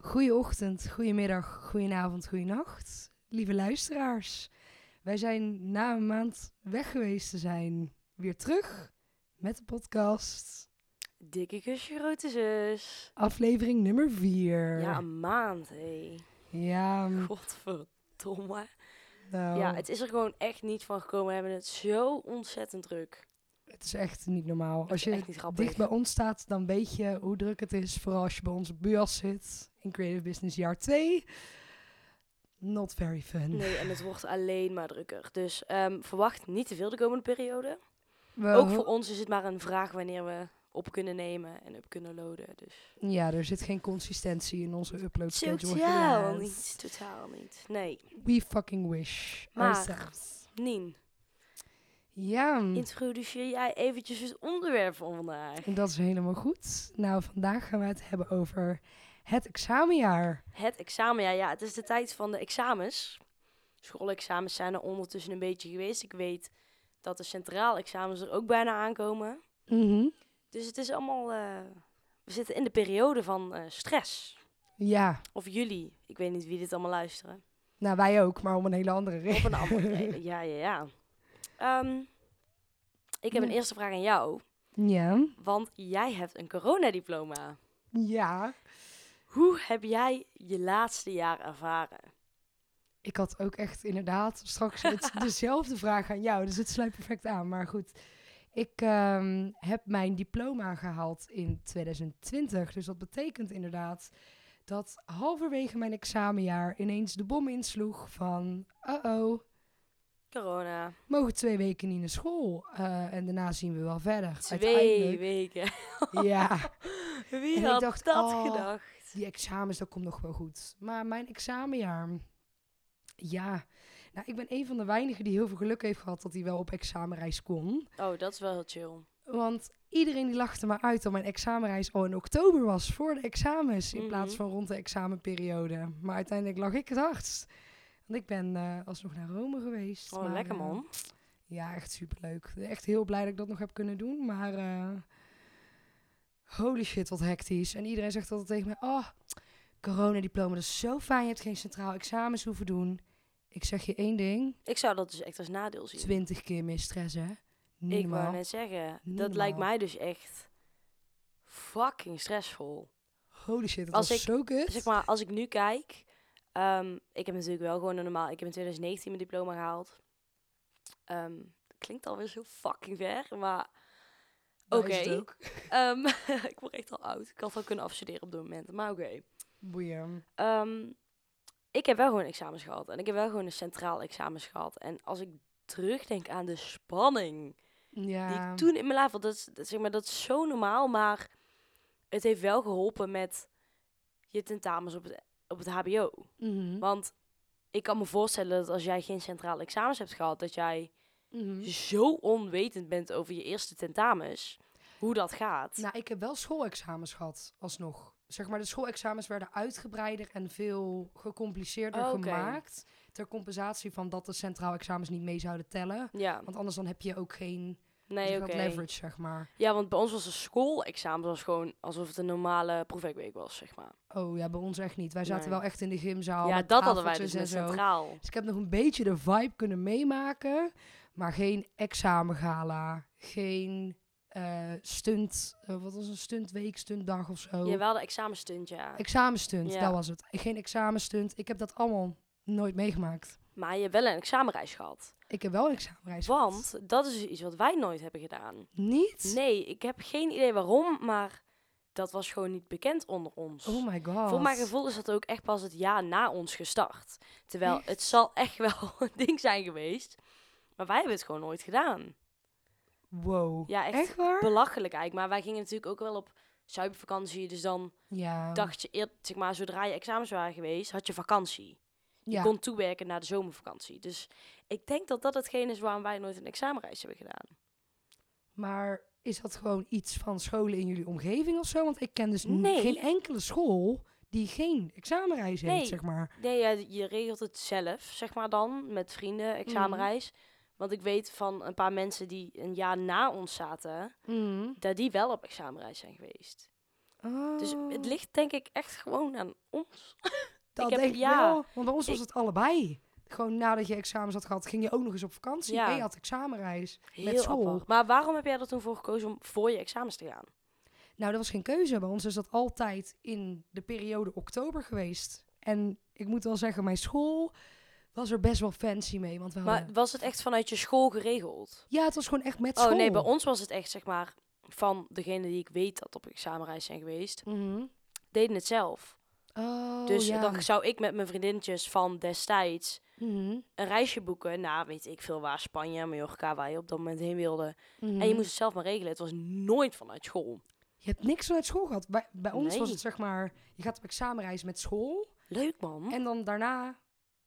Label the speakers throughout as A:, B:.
A: Goeieochtend, goedemiddag, goedenavond, goeienacht. Lieve luisteraars, wij zijn na een maand weg geweest te zijn weer terug met de podcast.
B: Dikke kusje, grote zus.
A: Aflevering nummer 4.
B: Ja, een maand, hé.
A: ja, m,
B: Godverdomme.
A: nou,
B: Ja,
A: het...
B: het is er gewoon echt niet van gekomen. We hebben het zo ontzettend druk.
A: is echt niet normaal. Als
B: is
A: je
B: echt niet grappig.
A: dicht bij ons staat, dan weet je hoe druk het is. Vooral als je bij onze buas zit in Creative Business jaar 2. Not very fun.
B: Nee, en het wordt alleen maar drukker. Dus ehm, verwacht niet te veel de komende periode.
A: We
B: Ook
A: ho-
B: voor ons is het maar een vraag wanneer we op kunnen nemen en op kunnen loaden. Dus.
A: Ja, er zit geen consistentie in onze upload schedule.
B: Totaal
A: helaas.
B: niet. Totaal niet. Nee,
A: We fucking wish.
B: Maar-
A: ourselves.
B: Nien.
A: Ja,
B: Introduceer jij eventjes het onderwerp van vandaag.
A: dat is helemaal goed. Nou, vandaag gaan we het hebben over het examenjaar.
B: Het examenjaar, ja, het is de tijd van de examens. Schoolexamens zijn er ondertussen een beetje geweest. Ik weet dat de centraal examens er ook bijna aankomen. Dus het is allemaal. eh, we zitten in de periode van eh, stress.
A: Ja,
B: Of jullie, ik weet niet wie dit allemaal luisteren.
A: nou wij ook, maar om een hele andere
B: Op
A: reden.
B: een andere reden. Ja, ja, ja. Ehm, ik heb een
A: Ja.
B: eerste vraag aan jou.
A: Ja,
B: Want jij hebt een coronadiploma.
A: ja.
B: Hoe heb jij je laatste jaar ervaren?
A: Ik had ook echt inderdaad straks het, dezelfde vraag aan jou, dus het sluit perfect aan. Maar goed, ik ehm, heb mijn diploma gehaald in 2020. Dus dat betekent inderdaad dat halverwege mijn examenjaar ineens de bom insloeg van... Uh-oh,
B: Corona.
A: mogen twee weken niet naar school. eh, en daarna zien we wel verder.
B: Twee weken.
A: Ja,
B: Wie
A: En ik
B: had
A: dacht,
B: dat
A: oh.
B: gedacht?
A: die examens, dat komt nog wel goed. Maar mijn examenjaar... Ja, nou, ik ben een van de weinigen die heel veel geluk heeft gehad dat hij wel op examenreis kon.
B: Oh, dat is wel heel chill.
A: Want iedereen die lachte maar uit dat mijn examenreis al in oktober was voor de examens. In
B: Mhm.
A: plaats van rond de examenperiode. Maar uiteindelijk lag ik het hardst. Want ik ben eh, alsnog naar Rome geweest.
B: Oh,
A: maar,
B: lekker
A: eh,
B: man.
A: Ja, echt superleuk. Echt heel blij dat ik dat nog heb kunnen doen. Maar eh, holy shit, wat hectisch. En iedereen zegt altijd tegen mij... Oh, coronadiploma, dat is zo fijn. Je hebt geen centraal examens hoeven doen. Ik zeg je één ding.
B: Ik zou dat dus echt als nadeel zien.
A: Twintig keer meer stress, hè? Niet
B: ik wou
A: normaal.
B: net zeggen,
A: Niet
B: dat lijkt
A: normaal.
B: mij dus echt fucking stressvol.
A: Holy shit, dat
B: Als
A: was
B: ik-
A: zo kut.
B: Zeg maar, als ik nu kijk, ehm, ik heb natuurlijk wel gewoon een normaal. Ik heb in 2019 mijn diploma gehaald. Ehm, klinkt alweer zo fucking ver, maar
A: Daar is het
B: oké.
A: ook.
B: ehm, ik word echt al oud. Ik had wel kunnen afstuderen op dat moment, maar oké.
A: Boeien.
B: Ehm, ik heb wel gewoon examens gehad. En ik heb wel gewoon een centraal examens gehad. En als ik terugdenk aan de spanning die
A: Ja.
B: ik toen in mijn leven... Dat, is- dat, zeg maar, dat is zo normaal, maar het heeft wel geholpen met je tentamens op het, op het hbo.
A: Mhm.
B: Want ik kan me voorstellen dat als jij geen centraal examens hebt gehad... dat jij
A: Mhm.
B: zo onwetend bent over je eerste tentamens, hoe dat gaat.
A: Nou, ik heb wel schoolexamens gehad, alsnog. Zeg maar, de schoolexamens werden uitgebreider en veel gecompliceerder
B: Oh, oké.
A: gemaakt. Ter compensatie van dat de centraal examens niet mee zouden tellen.
B: ja,
A: Want dus anders dan heb je ook geen
B: nee,
A: zeg
B: oké.
A: maar, leverage, zeg maar.
B: Ja, want bij ons was een schoolexamen was gewoon alsof het een normale proefwerkweek was, zeg maar.
A: Oh ja, bij ons echt niet. Wij zaten
B: Nee.
A: wel echt in de gymzaal.
B: ja,
A: Oh, met
B: dat hadden wij dus
A: tafeltjes
B: met
A: en zo.
B: centraal.
A: Dus ik heb nog een beetje de vibe kunnen meemaken. Maar geen examengala. Geen eh, stunt. eh, wat was een stuntweek, stuntdag of zo.
B: Ja, wel de examenstunt, ja.
A: Examenstunt,
B: Ja.
A: dat was het. Geen examenstunt. Ik heb dat allemaal nooit meegemaakt.
B: Maar je hebt wel een examenreis gehad.
A: Ik heb wel een examenreis. gehad.
B: Want dat is dus iets wat wij nooit hebben gedaan.
A: Niet?
B: Nee, ik heb geen idee waarom, maar dat was gewoon niet bekend onder ons.
A: Oh my god.
B: Voor mijn gevoel is dat ook echt pas het jaar na ons gestart. Terwijl het zal echt wel een ding zijn geweest. Maar wij hebben het gewoon nooit gedaan.
A: Wow.
B: Ja, echt,
A: Echt waar?
B: belachelijk eigenlijk. Maar wij gingen natuurlijk ook wel op zuipvakantie. Dus dan
A: Ja.
B: dacht je eerder, zeg maar, zodra je examens waren geweest, had je vakantie. Je
A: ja.
B: kon toewerken naar de zomervakantie. Dus ik denk dat dat hetgeen is waarom wij nooit een examenreis hebben gedaan.
A: Maar is dat gewoon iets van scholen in jullie omgeving of zo? Want ik ken dus n-
B: Nee.
A: geen enkele school die geen examenreis heeft,
B: Nee.
A: zeg maar.
B: Nee, ja, je regelt het zelf, zeg maar dan, met vrienden, examenreis. Want ik weet van een paar mensen die een jaar na ons zaten, dat die wel op examenreis zijn geweest. Mm. Dus
A: Oh,
B: het ligt denk ik echt gewoon aan ons.
A: dat
B: heb-
A: denk ik
B: ja,
A: wel. Want bij ons was het allebei. Gewoon nadat je examens had gehad, ging je ook nog eens op vakantie.
B: Ja.
A: En je had examenreis.
B: Heel
A: school.
B: apart. Maar waarom heb jij er toen voor gekozen om voor je examens te gaan?
A: Nou, dat was geen keuze. Bij ons is dat altijd in de periode oktober geweest. En ik moet wel zeggen, mijn school was er best wel fancy mee. Want we
B: Maar
A: hadden-
B: was het echt vanuit je school geregeld?
A: Ja, het was gewoon echt met
B: Oh
A: school.
B: nee, bij ons was het echt zeg maar van degene die ik weet dat op examenreis zijn geweest,
A: Mhm.
B: deden het zelf.
A: Oh,
B: dus
A: ja.
B: dan zou ik met mijn vriendinnetjes van destijds
A: Mhm,
B: een reisje boeken naar weet ik veel waar, Spanje, Mallorca, waar je op dat moment heen wilde.
A: mhm.
B: En je moest het zelf maar regelen. Het was nooit vanuit school.
A: Je hebt niks vanuit school gehad. Bij, bij ons was
B: Nee.
A: het zeg maar, je gaat op examenreis met school.
B: Leuk man.
A: En dan daarna,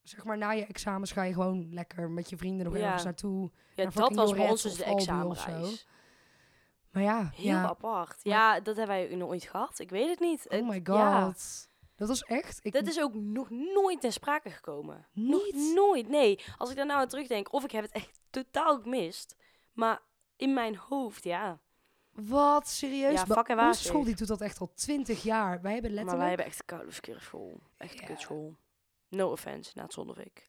A: zeg maar na je examens, ga je gewoon lekker met je vrienden nog
B: Ja.
A: ergens naartoe.
B: ja,
A: naar
B: dat
A: fucking
B: was bij
A: Lorette
B: ons dus
A: of
B: de
A: Albi of zo.
B: examenreis.
A: Maar ja,
B: Heel
A: ja.
B: apart. Ja, dat hebben wij nooit gehad. Ik weet het niet.
A: oh
B: Het-
A: my god.
B: ja.
A: Dat was echt. Ik,
B: Dat is ook nog nooit ter sprake gekomen. Nog
A: niet.
B: nooit, nee. Als ik daar nou aan terugdenk, of ik heb het echt totaal gemist. Maar in mijn hoofd, ja.
A: Wat serieus?
B: Ja,
A: Bij
B: vak en
A: onze
B: waarzeg.
A: school die doet dat echt al twintig jaar. Wij hebben
B: Maar wij
A: letterlijk.
B: hebben echt een koude verkeerde school. Echt een
A: Ja.
B: kutschool. No offense, na het Ah, Zondervik.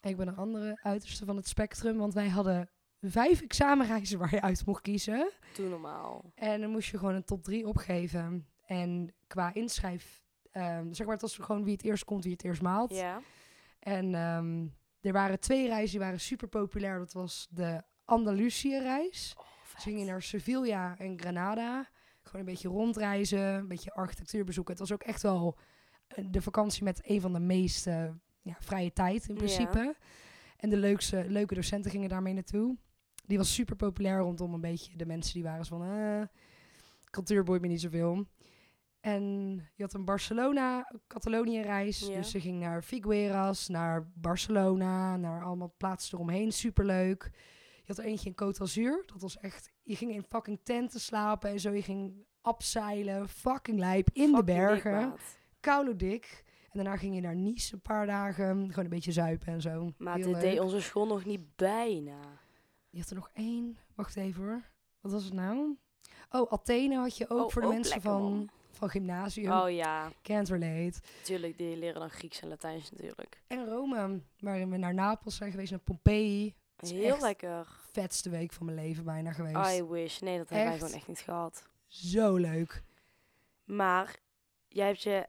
A: Ik ben een andere uiterste van het spectrum, want wij hadden vijf examenreizen waar je uit mocht kiezen.
B: Doe normaal.
A: En dan moest je gewoon een top 3 opgeven. En qua inschrijf, ehm, zeg maar, het was gewoon wie het eerst komt, wie het eerst maalt.
B: Ja.
A: En ehm, er waren twee reizen die waren super populair. Dat was de Andalusië-reis.
B: Oh,
A: Ze gingen naar Sevilla en Granada. Gewoon een beetje rondreizen, een beetje architectuur bezoeken. Het was ook echt wel eh, de vakantie met een van de meest eh, ja, vrije tijd in
B: Ja.
A: principe. En de leukste, leuke docenten gingen daarmee naartoe. Die was super populair rondom een beetje de mensen die waren zo van... eh, cultuur boeit me niet zoveel. En je had een Barcelona-Catalonië-reis.
B: Ja.
A: Dus ze ging naar Figueras, naar Barcelona, naar allemaal plaatsen eromheen. Superleuk. Je had er eentje in Côte d'Azur. Dat was echt... Je ging in fucking tenten slapen en zo. Je ging abzeilen, fucking lijp, in de
B: Fucking
A: bergen.
B: dikbaat.
A: Koude dik. En daarna ging je naar Nice een paar dagen. Gewoon een beetje zuipen en zo.
B: Maar
A: Heel
B: dit deed
A: leuk.
B: onze school nog niet bijna.
A: Je had er nog één. Wacht even hoor. Wat was het nou? Oh, Athene had je ook
B: Oh,
A: voor de
B: ook
A: mensen
B: lekker,
A: van,
B: man.
A: van gymnasium.
B: Oh ja,
A: Can't relate.
B: natuurlijk. Die leren dan Grieks en Latijns natuurlijk.
A: En Rome, waarin we naar Napels zijn geweest, naar Pompeii. Het is
B: Heel
A: echt
B: lekker.
A: Vetste week van mijn leven bijna geweest.
B: I wish. Nee, dat hebben wij
A: Echt?
B: gewoon echt niet gehad.
A: Zo leuk.
B: Maar jij hebt je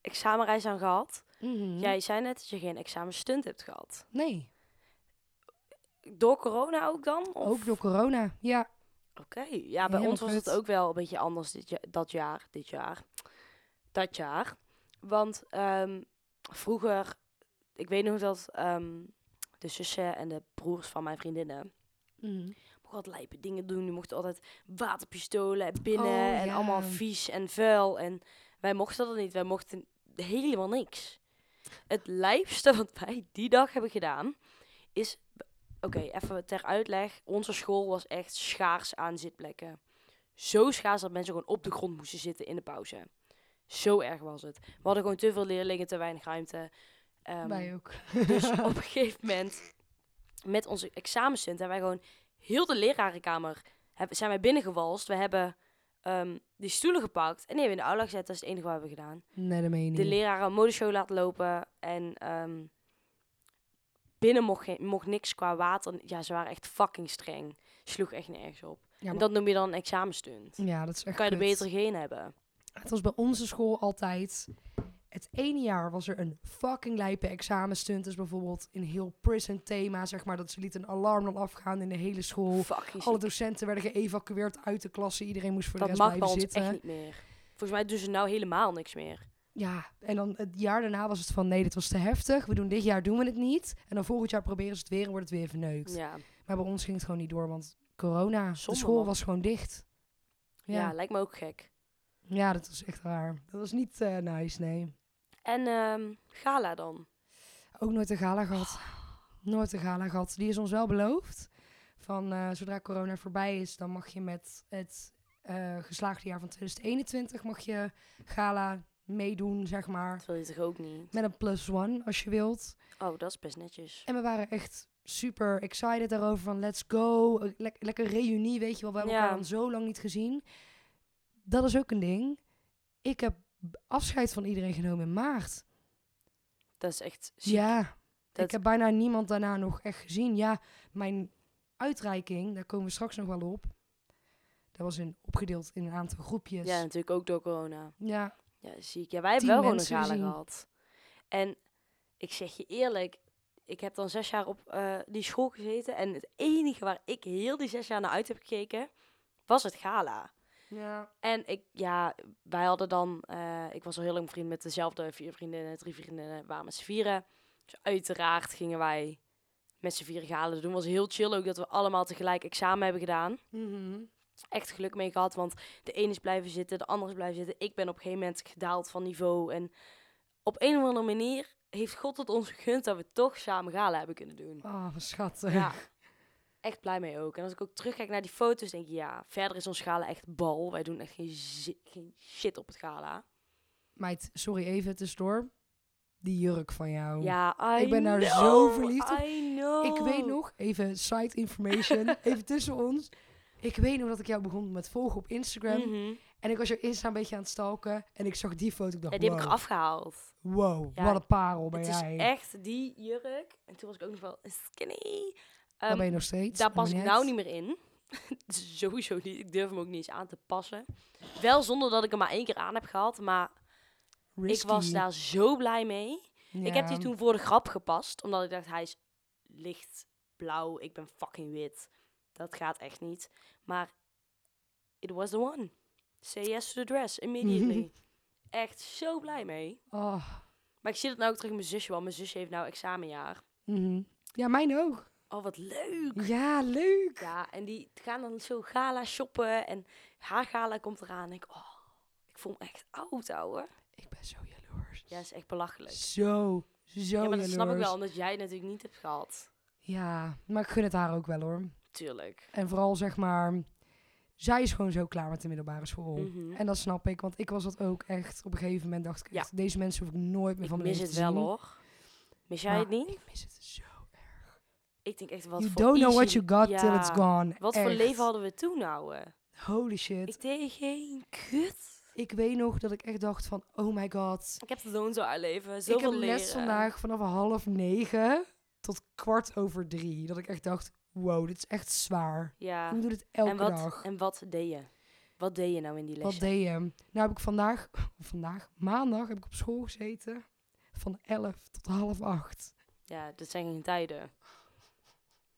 B: examenreis aan gehad.
A: Mhm.
B: Jij zei net dat je geen examenstunt hebt gehad.
A: Nee,
B: Door corona ook dan? Of?
A: ook door corona. Ja,
B: Oké, ja, bij
A: Helemaal
B: ons was het
A: kut.
B: ook wel een beetje anders dit ja- dat jaar. Dit jaar. Dat jaar. Want ehm, vroeger, ik weet nog dat ehm, de zussen en de broers van mijn vriendinnen
A: Mhm.
B: mochten altijd lijpe dingen doen. Die mochten altijd waterpistolen en binnen
A: Oh,
B: en
A: ja.
B: allemaal vies en vuil. En wij mochten dat niet. Wij mochten helemaal niks. Het lijpste wat wij die dag hebben gedaan is... Oké, even ter uitleg. Onze school was echt schaars aan zitplekken. Zo schaars dat mensen gewoon op de grond moesten zitten in de pauze. Zo erg was het. We hadden gewoon te veel leerlingen, te weinig ruimte. Ehm,
A: wij ook.
B: dus op een gegeven moment, met onze examenstunt, hebben wij gewoon heel de lerarenkamer heb- zijn wij binnengewalst. We hebben ehm, die stoelen gepakt en die hebben we in de aula gezet. Dat is het enige wat we hebben gedaan.
A: Nee, dat meen je
B: De
A: niet.
B: leraren een modeshow laten lopen en ehm, binnen mocht, geen- mocht niks qua water. Ja, ze waren echt fucking streng. Sloeg echt nergens op.
A: Ja,
B: En
A: maar-
B: dat noem je dan een examenstunt.
A: Ja, dat is echt
B: Kan je er
A: kut.
B: beter geen hebben.
A: Het was bij onze school altijd. Het ene jaar was er een fucking lijpe examenstunt. Dus bijvoorbeeld in heel prison thema, zeg maar. Dat ze lieten een alarm dan afgaan in de hele school.
B: Fucking
A: Alle
B: ziek.
A: docenten werden geëvacueerd uit de klasse. Iedereen moest voor de
B: Dat
A: rest
B: mag bij
A: blijven
B: ons
A: zitten.
B: echt niet meer. Volgens mij doen ze nou helemaal niks meer.
A: Ja, en dan het jaar daarna was het van... nee, dit was te heftig. We doen dit jaar doen we het niet. En dan volgend jaar proberen ze het weer en wordt het weer verneukt.
B: Ja.
A: Maar bij ons ging het gewoon niet door, want corona.
B: Zonde,
A: de school
B: man.
A: was gewoon dicht.
B: Ja.
A: Ja.
B: lijkt me ook gek.
A: ja, dat was echt raar. Dat was niet eh, nice, nee.
B: En ehm, gala dan?
A: Ook nooit een gala gehad. Nooit een gala gehad. Die is ons wel beloofd. Van eh, zodra corona voorbij is, dan mag je met het eh, geslaagde jaar van 2021 mag je gala meedoen, zeg maar.
B: Dat wil je toch ook niet?
A: Met een plus one als je wilt.
B: Oh, dat is best netjes.
A: En we waren echt super excited daarover. Van let's go. Eh, lek- lekker reunie, weet je wel. We hebben
B: Ja.
A: elkaar dan zo lang niet gezien. Dat is ook een ding. Ik heb afscheid van iedereen genomen in maart.
B: Dat is echt ziek.
A: Ja.
B: Dat-
A: Ik heb bijna niemand daarna nog echt gezien. Ja, mijn uitreiking, daar komen we straks nog wel op. Dat was in, opgedeeld in een aantal groepjes.
B: Ja, natuurlijk ook door corona.
A: ja.
B: Ja, ziek. Ja, wij hebben
A: dus Tien
B: wel gewoon een
A: mensen
B: gala
A: gezien.
B: gehad. En ik zeg je eerlijk, ik heb dan zes jaar op eh, die school gezeten. En het enige waar ik heel die zes jaar naar uit heb gekeken, was het gala.
A: ja.
B: En ik, ja, wij hadden dan, eh, ik was al heel lang vriend met dezelfde vier vriendinnen, drie vriendinnen, we waren met z'n vieren. Dus uiteraard gingen wij met z'n vieren galen doen. was heel chill ook dat we allemaal tegelijk examen hebben gedaan.
A: Mhm.
B: Echt geluk mee gehad, want de ene is blijven zitten, de andere is blijven zitten. Ik ben op een gegeven moment gedaald van niveau. En op een of andere manier heeft God het ons gegund dat we toch samen galen hebben kunnen doen.
A: Oh, wat schattig.
B: Ja. Echt blij mee ook. En als ik ook terugkijk naar die foto's, denk ik ja, verder is ons gala echt bal. Wij doen echt geen, zi- geen shit op het gala.
A: Meid, sorry even tussendoor. Die jurk van jou.
B: Ja, I
A: Oh. Ik ben daar zo
B: know,
A: verliefd op.
B: I know.
A: Ik weet nog, even side information, even tussen ons. Ik weet nog dat ik jou begon met volgen op Instagram.
B: Mhm.
A: En ik was jouw Insta een beetje aan het stalken. En ik zag die foto. Ik dacht, Oh,
B: Ja, die heb ik
A: wow,
B: eraf gehaald.
A: wow
B: Ja,
A: wat een parel ben
B: Het is
A: jij.
B: echt die jurk. En toen was ik ook nog wel skinny.
A: Daar
B: Ehm,
A: ben je nog steeds.
B: Daar
A: dat
B: pas ik
A: maakt
B: nou niet meer in. Sowieso niet. Ik durf hem ook niet eens aan te passen. Wel zonder dat ik hem maar één keer aan heb gehad. Maar ik
A: Risky.
B: was daar zo blij mee. Ik heb die
A: Ja.
B: toen voor de grap gepast. Omdat ik dacht, hij is licht blauw. Ik ben fucking wit. Dat gaat echt niet. Maar it was the one. Say yes to the dress immediately. echt zo blij mee.
A: Oh.
B: Maar ik zie het nou ook terug in mijn zusje. Want mijn zusje heeft nou examenjaar.
A: mhm. Ja, mijn ook.
B: Oh, wat leuk.
A: Ja, leuk.
B: Ja, en die gaan dan zo gala shoppen en haar gala komt eraan. En ik, oh, ik voel me echt oud, ouwe.
A: Ik ben zo jaloers.
B: Ja, is echt belachelijk.
A: Zo, zo
B: ja, maar dat
A: jaloers.
B: snap ik wel, omdat jij het natuurlijk niet hebt gehad.
A: Ja, maar ik gun het haar ook wel hoor.
B: Tuurlijk.
A: En vooral zeg maar, zij is gewoon zo klaar met de middelbare school.
B: Mhm.
A: Oh. En dat snap ik, want ik was dat ook echt. Op een gegeven moment dacht ik
B: Ja.
A: echt, deze mensen hoef ik nooit meer
B: Ik
A: van mijn
B: mis
A: leven
B: het
A: te
B: wel,
A: zien.
B: hoor. Mis jij
A: Maar
B: het niet?
A: Ik mis het zo erg.
B: Ik denk echt, wat
A: you
B: voor
A: don't know what
B: easy-
A: you got till
B: Ja.
A: it's gone.
B: Wat voor
A: Echt.
B: leven hadden we toen, ouwe?
A: Holy shit. Ik,
B: Ik deed geen kut.
A: weet nog dat ik echt dacht van, oh my god.
B: Ik heb zo'n zwaar leven, zoveel
A: ik heb
B: leren.
A: les vandaag vanaf half negen tot kwart over drie. Dat ik echt dacht, wow, dit is echt zwaar.
B: Ja.
A: Hoe doe dit elke
B: en, wat,
A: dag?
B: en wat deed je? Wat deed je nou in die les?
A: Wat deed je? Nou heb ik vandaag, vandaag, maandag heb ik op school gezeten. Van 11 tot half 8.
B: Ja, dat zijn geen tijden.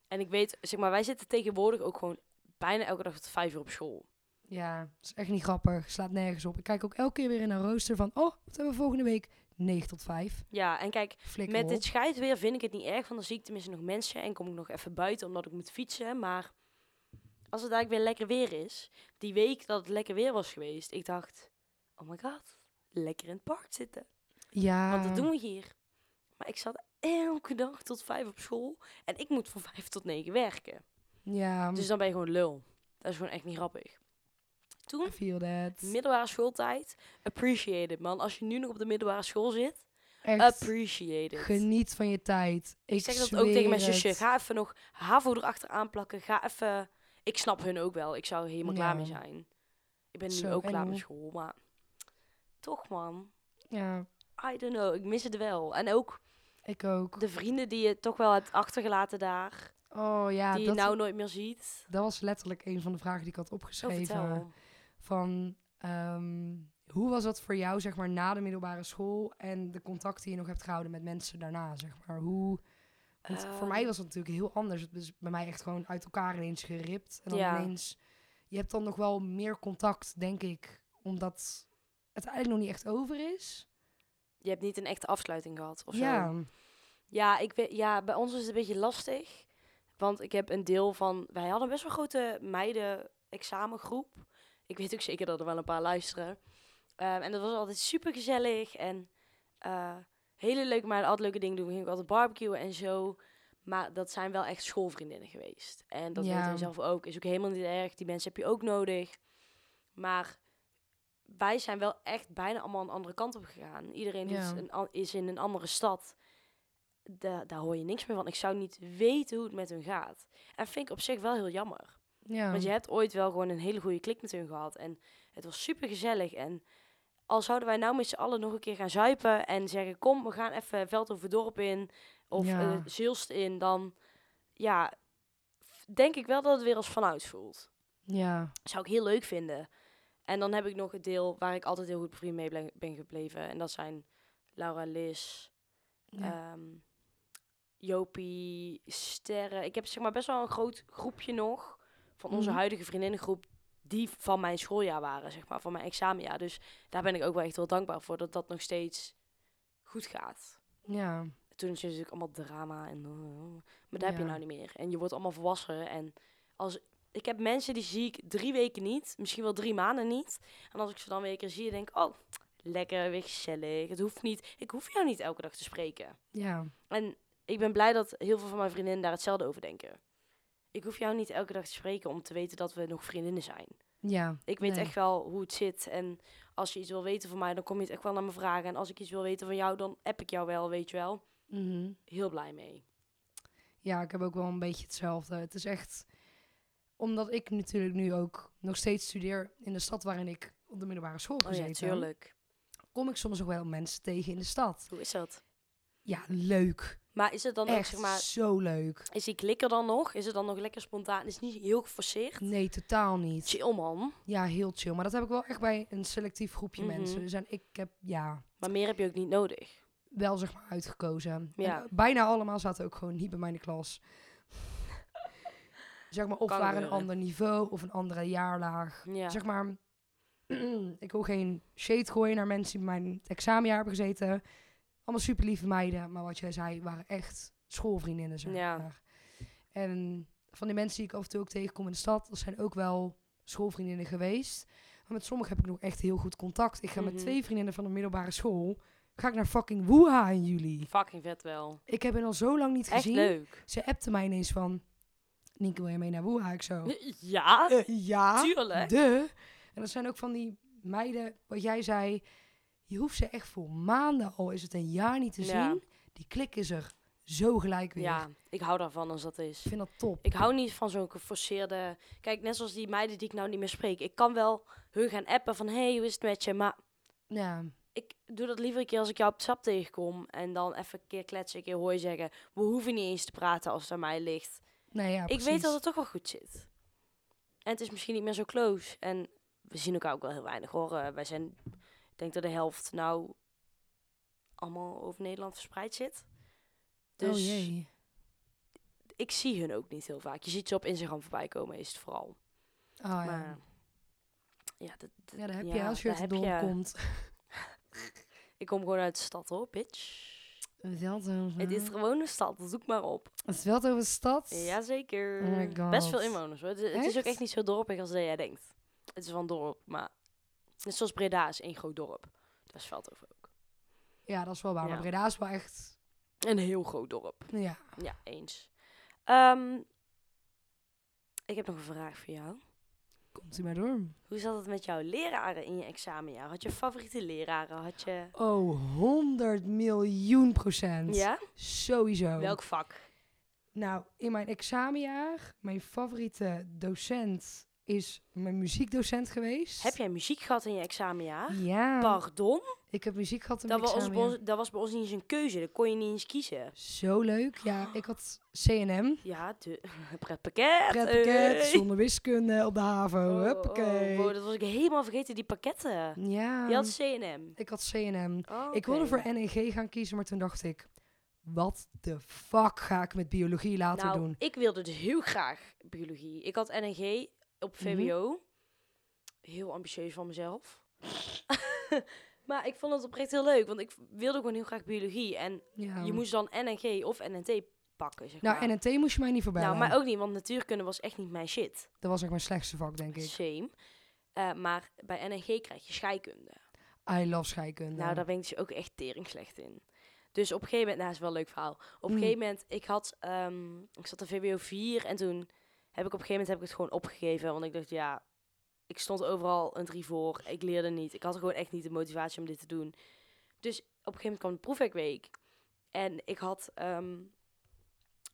B: En ik weet, zeg maar, wij zitten tegenwoordig ook gewoon bijna elke dag tot vijf uur op school.
A: Ja, dat is echt niet grappig. Slaat nergens op. Ik kijk ook elke keer weer in een rooster van, oh, wat hebben we volgende week? 9 tot 5.
B: Ja, en kijk,
A: Flikker
B: met
A: op.
B: dit scheidweer vind ik het niet erg, want dan zie ik tenminste nog mensen en kom ik nog even buiten omdat ik moet fietsen. Maar als het eigenlijk weer lekker weer is, die week dat het lekker weer was geweest, ik dacht, oh my god, lekker in het park zitten.
A: Ja.
B: Want dat doen we hier. Maar ik zat elke dag tot vijf op school en ik moet van vijf tot negen werken.
A: Ja.
B: Dus dan ben je gewoon lul. Dat is gewoon echt niet grappig. Toen
A: I feel that.
B: Middelbare schooltijd. Appreciate it, man. Als je nu nog op de middelbare school zit,
A: Echt.
B: appreciate it.
A: Geniet van je tijd. Ik,
B: ik zeg dat
A: zweer
B: ook tegen mijn zusje.
A: het.
B: Ga even nog HAVO erachteraan plakken. Ga even... Ik snap hun ook wel. Ik zou er helemaal klaar
A: Ja.
B: mee zijn. Ik ben nu
A: Zo
B: ook klaar
A: eng.
B: met school, maar... Toch, man.
A: Ja,
B: I don't know. Ik mis het wel. En ook
A: ik ook.
B: de vrienden die je toch wel hebt achtergelaten daar.
A: Oh ja,
B: die je
A: dat,
B: nou nooit meer ziet.
A: dat was letterlijk een van de vragen die ik had
B: Zo
A: opgeschreven.
B: Oh, vertel.
A: van ehm, hoe was dat voor jou, zeg maar, na de middelbare school en de contacten die je nog hebt gehouden met mensen daarna, zeg maar? Hoe, want voor
B: Ehm.
A: mij was dat natuurlijk heel anders. Het is bij mij echt gewoon uit elkaar ineens geript. En dan
B: Ja.
A: ineens, je hebt dan nog wel meer contact, denk ik, omdat het eigenlijk nog niet echt over is.
B: Je hebt niet een echte afsluiting gehad of zo.
A: ja,
B: Ja, ik weet, ja, bij ons is het een beetje lastig. Want ik heb een deel van. Wij hadden best wel een grote meiden-examengroep. Ik weet ook zeker dat er wel een paar luisteren. Ehm, en dat was altijd super gezellig. En eh, hele leuke meiden, altijd leuke dingen doen. We gingen ook altijd barbecuen en zo. Maar dat zijn wel echt schoolvriendinnen geweest. En dat
A: Ja.
B: weet hij zelf ook. Is ook helemaal niet erg. Die mensen heb je ook nodig. Maar wij zijn wel echt bijna allemaal een andere kant op gegaan. Iedereen doet
A: Ja.
B: een an- is in een andere stad. Da- daar hoor je niks meer van. Ik zou niet weten hoe het met hun gaat. En vind ik op zich wel heel jammer.
A: ja.
B: Want je hebt ooit wel gewoon een hele goede klik met hun gehad. En het was super gezellig. En al zouden wij nou met z'n allen nog een keer gaan zuipen en zeggen: Kom, we gaan even Veld over Dorp in of
A: Ja.
B: eh Zilst in, dan ja, f- denk ik wel dat het weer als vanouds voelt.
A: Ja.
B: Zou ik heel leuk vinden. En dan heb ik nog het deel waar ik altijd heel goed bevriend mee ble- ben gebleven. En dat zijn Laura, Liz,
A: Ja.
B: ehm, Jopie, Sterren. Ik heb zeg maar best wel een groot groepje nog van onze
A: Mhm.
B: huidige vriendinnengroep die van mijn schooljaar waren, zeg maar, van mijn examenjaar. Dus daar ben ik ook wel echt heel dankbaar voor dat dat nog steeds goed gaat.
A: ja.
B: Toen is het natuurlijk allemaal drama en maar dat heb je
A: Ja.
B: nou niet meer. En je wordt allemaal volwassen en als ik heb mensen die zie ik drie weken niet, misschien wel drie maanden niet. En als ik ze dan weer een keer zie, denk ik, oh, lekker, weer gezellig. Het hoeft niet, ik hoef jou niet elke dag te spreken.
A: Ja.
B: En ik ben blij dat heel veel van mijn vriendinnen daar hetzelfde over denken. Ik hoef jou niet elke dag te spreken om te weten dat we nog vriendinnen zijn.
A: Ja.
B: Ik weet
A: Nee.
B: echt wel hoe het zit. En als je iets wil weten van mij, dan kom je het echt wel naar me vragen. En als ik iets wil weten van jou, dan app ik jou wel, weet je wel.
A: Mhm.
B: Heel blij mee.
A: Ja, ik heb ook wel een beetje hetzelfde. Het is echt omdat ik natuurlijk nu ook nog steeds studeer in de stad waarin ik op de middelbare school
B: Oh ja,
A: gezeten,
B: tuurlijk.
A: kom ik soms ook wel mensen tegen in de stad.
B: Hoe is dat?
A: Ja, leuk.
B: Maar is het dan ook,
A: Echt
B: zeg maar,
A: zo leuk.
B: is die klikker dan nog? Is het dan nog lekker spontaan? Is het niet heel geforceerd?
A: Nee, totaal niet.
B: Chill man.
A: Ja, heel chill. Maar dat heb ik wel echt bij een selectief groepje
B: Mhm.
A: mensen. Dus en ik heb ja,
B: Maar meer heb je ook niet nodig.
A: wel zeg maar uitgekozen.
B: Ja.
A: En bijna allemaal zaten ook gewoon niet bij mij in de klas. zeg maar, of
B: Kan
A: waren een
B: gebeuren.
A: ander niveau of een andere jaarlaag.
B: Ja.
A: Zeg maar, ik wil geen shade gooien naar mensen die bij mijn examenjaar hebben gezeten. Allemaal super lieve meiden, maar wat jij zei, waren echt schoolvriendinnen. Zeg
B: Ja.
A: maar. En van die mensen die ik af en toe ook tegenkom in de stad, dat zijn ook wel schoolvriendinnen geweest. Maar met sommigen heb ik nog echt heel goed contact. Ik ga
B: Mhm.
A: met twee vriendinnen van de middelbare school, ga ik naar fucking Wuha in juli.
B: Fucking vet wel.
A: Ik heb hen al zo lang niet
B: Echt
A: gezien.
B: leuk.
A: Ze appte mij ineens van, Nienke wil je mee naar Wuha? Ik zo,
B: Ja,
A: "Eh, Oh. ja.
B: tuurlijk.
A: De. En dat zijn ook van die meiden, wat jij zei, je hoeft ze echt voor maanden, al is het een jaar niet te
B: Ja.
A: zien, die klik is er zo gelijk weer.
B: Ja, ik hou daarvan als dat is.
A: Ik vind dat top.
B: Ik hou niet van zo'n geforceerde... Kijk, net zoals die meiden die ik nou niet meer spreek. Ik kan wel hun gaan appen van... Hey, hoe is het met je? Maar
A: Ja,
B: ik doe dat liever een keer als ik jou op het sap tegenkom. En dan even een keer kletsen, een keer hooi zeggen. We hoeven niet eens te praten als het aan mij ligt.
A: nou ja,
B: ik
A: precies.
B: weet dat het toch wel goed zit. En het is misschien niet meer zo close. En we zien elkaar ook wel heel weinig hoor. Eh, wij zijn... Ik denk dat de helft nou... Allemaal over Nederland verspreid zit. Dus
A: Oh jee.
B: ik zie hun ook niet heel vaak. Je ziet ze op Instagram voorbij komen, is het vooral.
A: Ah, ja.
B: Maar ja, dat, dat-
A: ja, daar heb je
B: ja,
A: als je
B: daar
A: het
B: heb je.
A: doorkomt.
B: Ik kom gewoon uit de stad hoor, bitch.
A: Veldhoven.
B: Het is gewoon een stad, zoek maar op.
A: Het Veldhoven stad.
B: Jazeker.
A: Oh my god.
B: Best veel inwoners hoor. Het, het is ook
A: Echt?
B: echt niet zo dorpig als dat jij denkt. Het is wel een dorp, maar net zoals Breda is één groot dorp. Dat is Veldhoven ook.
A: Ja, dat is wel waar.
B: Ja.
A: Maar Breda is wel echt,
B: Een heel groot dorp.
A: ja.
B: Ja, eens. Ehm, ik heb nog een vraag voor jou.
A: Komt u maar door.
B: Hoe zat het met jouw leraren in je examenjaar? Had je favoriete leraren? Had je...
A: Oh, 100 miljoen procent.
B: Ja?
A: Sowieso.
B: Welk vak?
A: Nou, in mijn examenjaar, mijn favoriete docent is mijn muziekdocent geweest.
B: Heb jij muziek gehad in je examenjaar?
A: Ja,
B: Pardon?
A: ik heb muziek gehad in
B: Dat
A: mijn
B: was, ons, bij
A: examenjaar.
B: ons- dat was bij ons niet eens een keuze. Dat kon je niet eens kiezen.
A: Zo leuk. Ja, ik had CNM.
B: Ja, de, pretpakket.
A: Pretpakket,
B: hey.
A: zonder wiskunde op de HAVO.
B: Oh,
A: Huppakee.
B: oh, wow, dat was ik helemaal vergeten, die pakketten.
A: Ja,
B: Je had CNM.
A: ik had CNM.
B: Oh,
A: Ik wilde
B: oké.
A: voor NNG gaan kiezen, maar toen dacht ik... Wat de fuck ga ik met biologie later
B: nou,
A: doen?
B: Ik wilde dus heel graag biologie. Ik had NNG op
A: Mhm.
B: VWO. Heel ambitieus van mezelf. maar ik vond het oprecht heel leuk, want ik wilde gewoon heel graag biologie. En
A: Ja.
B: je moest dan NNG of NNT pakken. Zeg maar.
A: Oh. Nou, NNT moest je mij niet voorbij
B: Nou,
A: laten.
B: maar ook niet, want natuurkunde was echt niet mijn shit.
A: Dat was echt mijn slechtste vak, denk ik.
B: Shame. Eh, maar bij NNG krijg je scheikunde.
A: I love scheikunde.
B: Nou, daar ben ik dus ook echt tering slecht in. Dus op een gegeven moment, nou, is wel een leuk verhaal. Op een
A: Mm.
B: gegeven moment, ik had, ehm, ik zat in VWO 4 en toen heb ik op een gegeven moment heb ik het gewoon opgegeven. Want ik dacht, ja, ik stond overal een 3 voor. Ik leerde niet. Ik had gewoon echt niet de motivatie om dit te doen. Dus op een gegeven moment kwam de proefwerkweek. En ik had, ehm,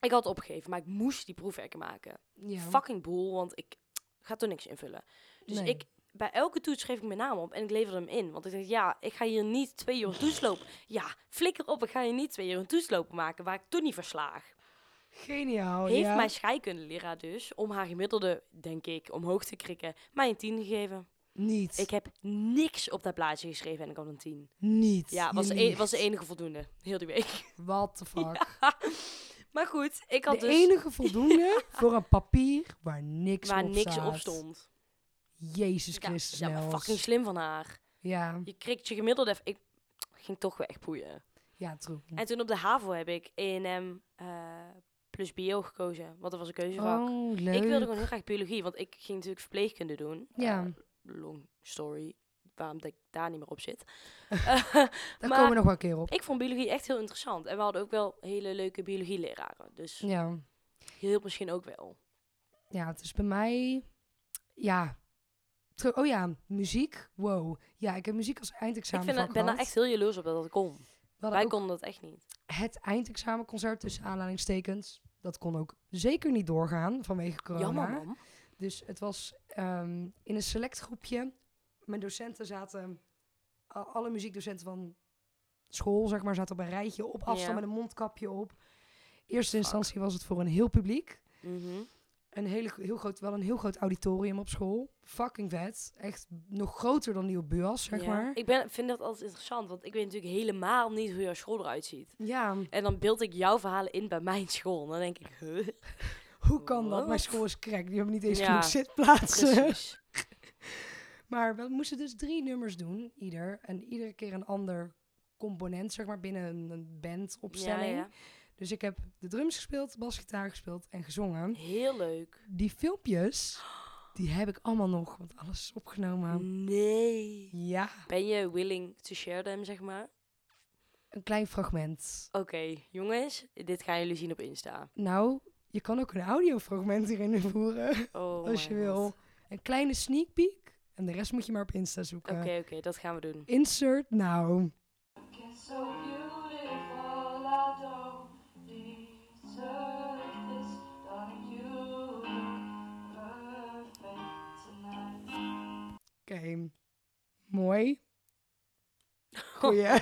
B: ik had opgegeven, maar ik moest die proefwerken maken
A: ja.
B: fucking boel, want ik ga toch niks invullen. Dus
A: Nee.
B: ik bij elke toets schreef ik mijn naam op en ik leverde hem in. Want ik dacht, ja, ik ga hier niet twee uur een toets lopen. Ja, flikker op, ik ga hier niet twee uur een toets lopen maken waar ik toen niet verslaag.
A: Geniaal,
B: Heeft
A: Oh, ja.
B: mijn scheikundeleraar dus, om haar gemiddelde, denk ik, omhoog te krikken, mij een 10 gegeven.
A: Niet.
B: Ik heb niks op dat plaatje geschreven en ik had een 10.
A: Niet.
B: Ja,
A: Je
B: was, de e-
A: liegt.
B: was de enige voldoende, heel die week.
A: What the fuck.
B: Maar goed, ik
A: De
B: had dus
A: enige voldoende voor een papier waar niks,
B: waar
A: op,
B: niks
A: staat.
B: op stond.
A: Jezus
B: Ja,
A: Christus,
B: ja, maar
A: Nels.
B: fucking slim van haar.
A: Ja,
B: Je krikt je gemiddelde... even- Ik ging toch weer echt boeien.
A: ja, true.
B: En toen op de HAVO heb ik E&M eh, plus bio gekozen. Want dat was een keuzevak.
A: Oh, leuk.
B: dus ik wilde gewoon heel graag biologie, want ik ging natuurlijk verpleegkunde doen.
A: Ja.
B: Eh, long story, waarom dat ik daar niet meer op zit. Eh,
A: Daar
B: maar-
A: komen we nog wel een keer op.
B: ik vond biologie echt heel interessant. En we hadden ook wel hele leuke biologieleraren. Dus je
A: Ja.
B: hielp misschien ook wel.
A: ja, het is bij mij... Ja. Tru- Oh ja, muziek. Wow. Ja, ik heb muziek als
B: ik
A: eindexamen
B: vind dat, ben daar echt heel jaloers op dat dat kon. Wij konden dat echt niet.
A: Het eindexamenconcert tussen aanhalingstekens. Dat kon ook zeker niet doorgaan vanwege corona.
B: Jammer, man.
A: Dus het was ehm, in een select groepje. Mijn docenten zaten, a- alle muziekdocenten van school, zeg maar, zaten op een rijtje op afstand
B: Ja.
A: met een mondkapje op. Eerste instantie was het voor een heel publiek.
B: Mhm.
A: Een hele, gro- heel groot, wel een heel groot auditorium op school. Fucking vet. Echt nog groter dan die op BUAS, zeg
B: Ja.
A: maar.
B: Ik ben, vind dat altijd interessant, want ik weet natuurlijk helemaal niet hoe jouw school eruit ziet.
A: Ja,
B: En dan beeld ik jouw verhalen in bij mijn school. En dan denk ik, huh?
A: hoe kan dat? Mijn
B: Wat?
A: school is crack. Die hebben niet eens
B: Ja,
A: genoeg zitplaatsen.
B: precies.
A: Maar we moesten dus drie nummers doen, ieder. En iedere keer een ander component, zeg maar, binnen een- een bandopstelling.
B: Ja,
A: Dus ik heb de drums gespeeld, basgitaar gespeeld en gezongen.
B: ja. Heel leuk.
A: Die filmpjes, die heb ik allemaal nog, want alles is opgenomen.
B: Nee.
A: Ja,
B: Ben je willing to share them, zeg maar?
A: een klein fragment.
B: Oké, jongens, dit gaan jullie zien op Insta.
A: Nou, je kan ook een audiofragment hierin voeren,
B: Oh
A: als je
B: my god.
A: wil. Een kleine sneak peek en de rest moet je maar op Insta
B: Oké,
A: zoeken.
B: oké, dat gaan we doen.
A: Insert nou.
C: It's so beautiful, I don't deserve this. Darling, you look perfect tonight.
A: Oké, mooi. Goeie.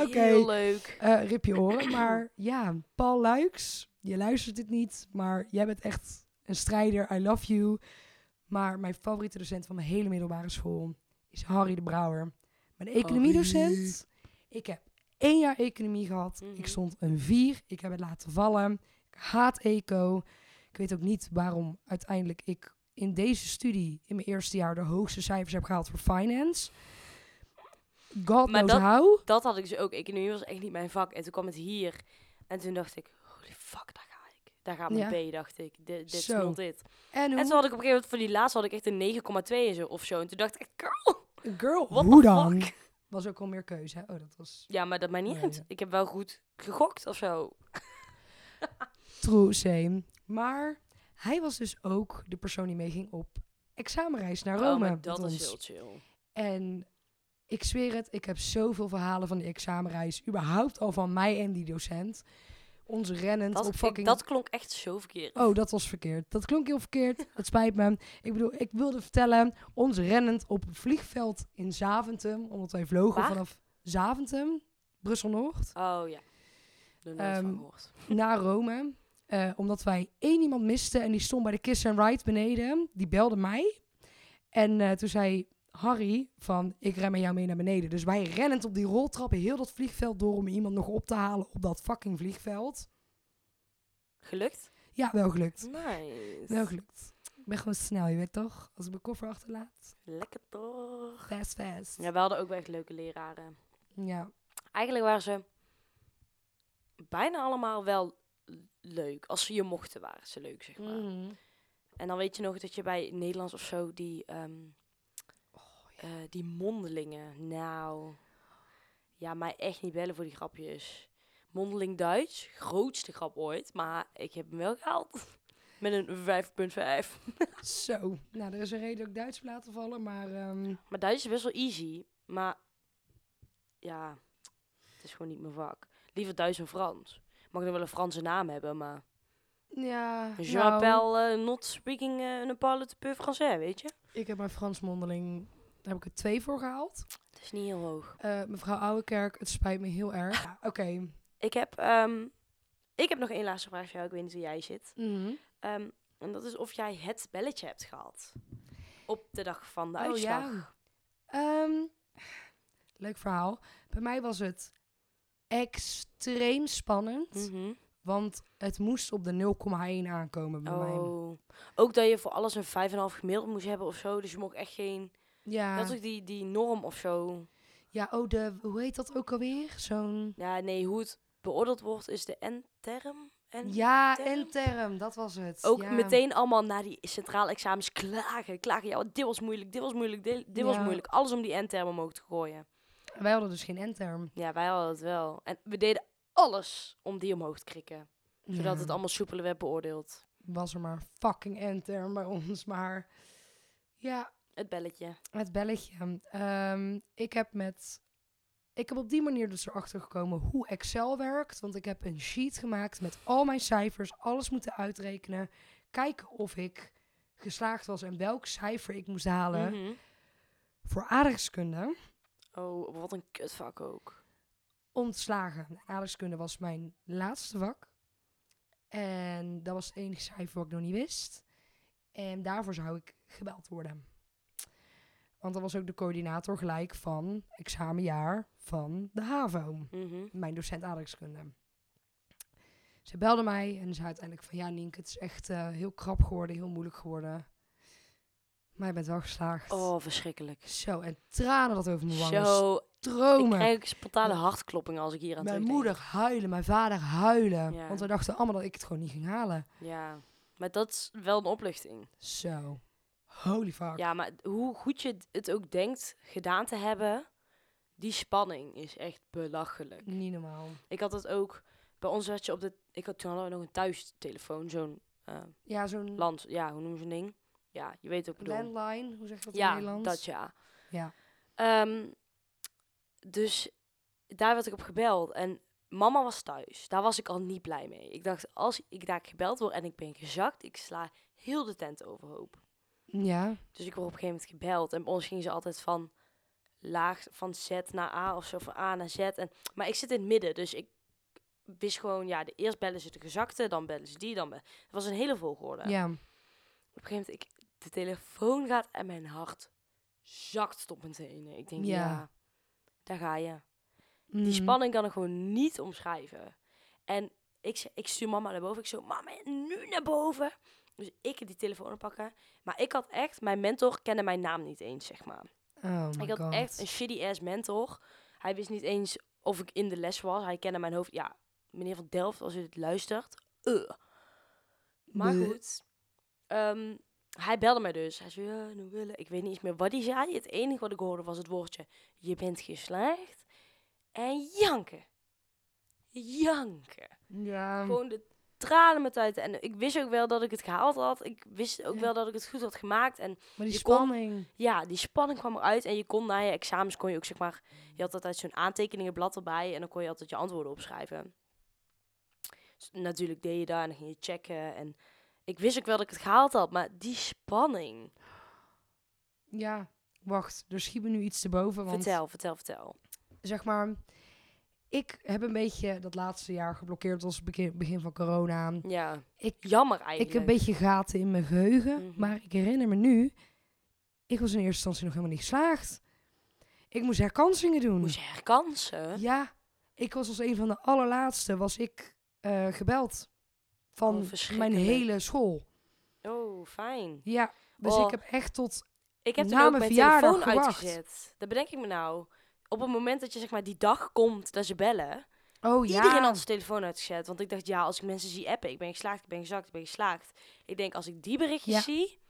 A: Oké.
B: Heel leuk.
A: Eh, rip je oren. Maar ja, Paul Luiks, je luistert dit niet, maar jij bent echt een strijder. I love you. Maar mijn favoriete docent van mijn hele middelbare school is Harry de Brouwer. Mijn economiedocent. Ik heb één jaar economie gehad.
B: Mhm.
A: Ik stond een vier. Ik heb het laten vallen. Ik haat eco. Ik weet ook niet waarom uiteindelijk ik in deze studie in mijn eerste jaar de hoogste cijfers heb gehaald voor finance. God
B: Maar
A: knows
B: dat-
A: how.
B: Dat had ik dus ook. Economie was echt niet mijn vak. En toen kwam het hier. En toen dacht ik, holy fuck, daar ga ik. Daar gaat mijn
A: Ja.
B: B, dacht ik. Dit- Dit is
A: Zo.
B: not dit.
A: En hoe
B: En toen had ik op een gegeven moment, voor die laatste had ik echt een 9,2 en zo, of zo. En toen dacht ik, echt, girl,
A: Girl,
B: what
A: hoe
B: the
A: dan?
B: fuck?
A: Was ook al meer keuze. Hè? Oh, dat was
B: Ja, maar dat maakt niet
A: Nee,
B: uit.
A: ja.
B: Ik heb wel goed gegokt of zo.
A: true same. Maar hij was dus ook de persoon die mee ging op examenreis naar
B: oh,
A: Rome.
B: maar
A: met
B: dat
A: ons.
B: is heel chill.
A: En ik zweer het, ik heb zoveel verhalen van die examenreis. Überhaupt al van mij en die docent. Ons rennend
B: Dat,
A: op
B: ik-
A: fucking...
B: dat klonk echt zo verkeerd.
A: Oh, dat was verkeerd. Dat klonk heel verkeerd. Het spijt me. Ik bedoel, ik wilde vertellen, ons rennend op een vliegveld in Zaventem, omdat wij vlogen
B: Waar?
A: vanaf Zaventem, Brussel-Noord,
B: Oh ja. Nog nooit
A: Ehm,
B: van gehoord.
A: naar Rome. Eh, omdat wij één iemand misten en die stond bij de Kiss and Ride beneden. Die belde mij. En eh, toen zei Harry van, ik ren met jou mee naar beneden. Dus wij rennend op die roltrappen heel dat vliegveld door om iemand nog op te halen op dat fucking vliegveld.
B: Gelukt?
A: Ja, wel gelukt.
B: Nice.
A: Wel gelukt. Ik ben gewoon snel, je weet toch? Als ik mijn koffer achterlaat.
B: Lekker toch?
A: Fast, fast.
B: Ja, we hadden ook wel echt leuke leraren.
A: Ja.
B: Eigenlijk waren ze bijna allemaal wel leuk. Als ze je mochten, waren ze leuk, zeg
A: Mm.
B: maar.
A: Mhm.
B: En dan weet je nog dat je bij Nederlands of zo die, ehm, eh, die mondelingen. Nou, ja, mij echt niet bellen voor die grapjes. Mondeling Duits, grootste grap ooit, maar ik heb hem wel gehaald. Met een 5.5.
A: Zo. Nou, er is een reden dat ik Duits heb laten vallen, maar... ehm,
B: Maar Duits is best wel easy, maar ja, het is gewoon niet mijn vak. Liever Duits en Frans. Mag dan wel een Franse naam hebben, maar...
A: ja, nou,
B: Jean-Appel, eh, not speaking eh, ne parle te peu français, weet je?
A: Ik heb mijn Frans mondeling, daar heb ik er twee voor gehaald.
B: Het is niet heel hoog.
A: Eh, mevrouw Ouwekerk, het spijt me heel erg. Ja, Oké.
B: Ik heb, ehm, ik heb nog één laatste vraag voor jou. Ik weet niet hoe jij zit.
A: Mhm.
B: Ehm, en dat is of jij het belletje hebt gehaald. Op de dag van de
A: Oh,
B: uitslag.
A: ja. Ehm, leuk verhaal. Bij mij was het extreem spannend,
B: Mhm.
A: want het moest op de 0,1 aankomen bij mij.
B: Oh. Ook dat je voor alles een 5,5 gemiddeld moest hebben of zo. Dus je mocht echt geen...
A: Ja.
B: Dat is ook die, die norm of zo.
A: ja, oh, de, hoe heet dat ook alweer? Zo'n...
B: Ja, nee, hoe het beoordeeld wordt is de N-term. En
A: Ja,
B: term?
A: en term, dat was het.
B: ook
A: ja.
B: meteen allemaal na die centraal examens klagen. Klagen, ja, dit was moeilijk, dit was moeilijk, dit, dit was
A: Ja.
B: moeilijk. Alles om die N-term omhoog te gooien.
A: Wij hadden dus geen endterm.
B: Ja, wij hadden het wel. En we deden alles om die omhoog te krikken. Zodat
A: Ja,
B: het allemaal soepeler werd beoordeeld.
A: Was er maar fucking endterm bij ons, maar... Ja,
B: Het belletje.
A: Het belletje. Ehm, ik heb met. Ik heb op die manier dus erachter gekomen hoe Excel werkt. Want ik heb een sheet gemaakt met al mijn cijfers, alles moeten uitrekenen. Kijken of ik geslaagd was en welk cijfer ik moest halen
B: Mhm.
A: voor aardrijkskunde
B: Oh, wat een kutvak ook.
A: om te slagen. Aardrijkskunde was mijn laatste vak. En dat was het enige cijfer wat ik nog niet wist. En daarvoor zou ik gebeld worden. Want dat was ook de coördinator gelijk van examenjaar van de HAVO.
B: Mhm.
A: Mijn docent aardrijkskunde. Ze belde mij en zei uiteindelijk van... Ja, Nienke, het is echt eh, heel krap geworden, heel moeilijk geworden. Maar je bent wel geslaagd.
B: Oh, verschrikkelijk.
A: Zo, en tranen dat over mijn wangen
B: Zo, ik
A: stromen.
B: krijg ook spontane hartklopping als ik hier aan
A: Mijn
B: terugdenk.
A: moeder huilen, mijn vader huilen.
B: Ja.
A: Want we dachten allemaal dat ik het gewoon niet ging halen.
B: Ja, maar dat is wel een opluchting.
A: Zo. Holy fuck.
B: Ja, maar hoe goed je het ook denkt gedaan te hebben, die spanning is echt belachelijk.
A: Niet normaal.
B: Ik had dat ook, bij ons werd je op de, ik had toen hadden we nog een thuistelefoon, zo'n eh,
A: Ja, zo'n
B: land, ja, hoe noem je zo'n ding? Ja, je weet ook bedoel.
A: landline. Hoe zeg je dat in
B: ja,
A: Nederlands?
B: dat ja.
A: Ja.
B: Ehm, dus daar werd ik op gebeld en mama was thuis. Daar was ik al niet blij mee. Ik dacht, als ik daar gebeld word en ik ben gezakt, ik sla heel de tent overhoop.
A: Ja.
B: Dus ik word op een gegeven moment gebeld. En bij ons gingen ze altijd van laag, van Z naar A of zo, van A naar Z. En, maar ik zit in het midden, dus ik wist gewoon, ja, de eerst bellen ze de gezakte, dan bellen ze die, dan... be- Het was een hele volgorde.
A: Ja.
B: Op een gegeven moment, ik, de telefoon gaat en mijn hart zakt tot mijn tenen. Ik denk, ja,
A: Ja.
B: daar ga je.
A: Mm.
B: Die spanning kan ik gewoon niet omschrijven. En ik, ze- ik stuur mama naar boven. Ik zo, mama, nu naar boven. Dus ik die telefoon pakken. Maar ik had echt, mijn mentor kende mijn naam niet eens, zeg maar.
A: Oh my
B: Ik had
A: God.
B: echt een shitty ass mentor. Hij wist niet eens of ik in de les was. Hij kende mijn hoofd. Ja, meneer van Delft, als u dit luistert. eh. Maar
A: Bleh.
B: goed. Ehm, hij belde mij dus. Hij zei, ja, nu willen. Ik weet niet eens meer wat hij zei. Het enige wat ik hoorde was het woordje, je bent geslaagd. En janken. Janken.
A: Ja.
B: Gewoon de tranen met uit. En ik wist ook wel dat ik het gehaald had. Ik wist ook
A: Ja.
B: wel dat ik het goed had gemaakt. En
A: Maar die
B: je kon-
A: spanning.
B: ja, die spanning kwam eruit. En je kon na je examens, kon je ook zeg maar... Je had altijd zo'n aantekeningenblad erbij. En dan kon je altijd je antwoorden opschrijven. Dus natuurlijk deed je dat en dan ging je checken. En ik wist ook wel dat ik het gehaald had. Maar die spanning...
A: Ja. Wacht, er schiet me nu iets te boven. Want
B: Vertel, vertel, vertel.
A: zeg maar... Ik heb een beetje dat laatste jaar geblokkeerd. als begin, begin van corona.
B: Ja,
A: Ik
B: jammer
A: Ik
B: eigenlijk.
A: heb een beetje gaten in mijn geheugen,
B: Mhm.
A: maar ik herinner me nu, ik was in eerste instantie nog helemaal niet geslaagd. Ik moest herkansingen doen.
B: Moest je herkansen?
A: Ja, ik was als een van de allerlaatste, was ik eh, gebeld van mijn
B: Oh, verschrikkelijk.
A: hele school.
B: Oh, fijn.
A: Ja, dus
B: Oh.
A: ik heb echt tot,
B: Ik heb toen
A: Na
B: ook
A: mijn
B: mijn
A: verjaardag
B: telefoon
A: gewacht.
B: uitgezet. Dat bedenk ik me nou. Op het moment dat je zeg maar die dag komt dat ze bellen...
A: oh ja,
B: Iedereen had zijn telefoon uitgezet. Want ik dacht, ja, als ik mensen zie appen, ik ben geslaagd, ik ben gezakt, ik ben geslaagd. Ik denk, als ik die berichtjes
A: Ja.
B: zie,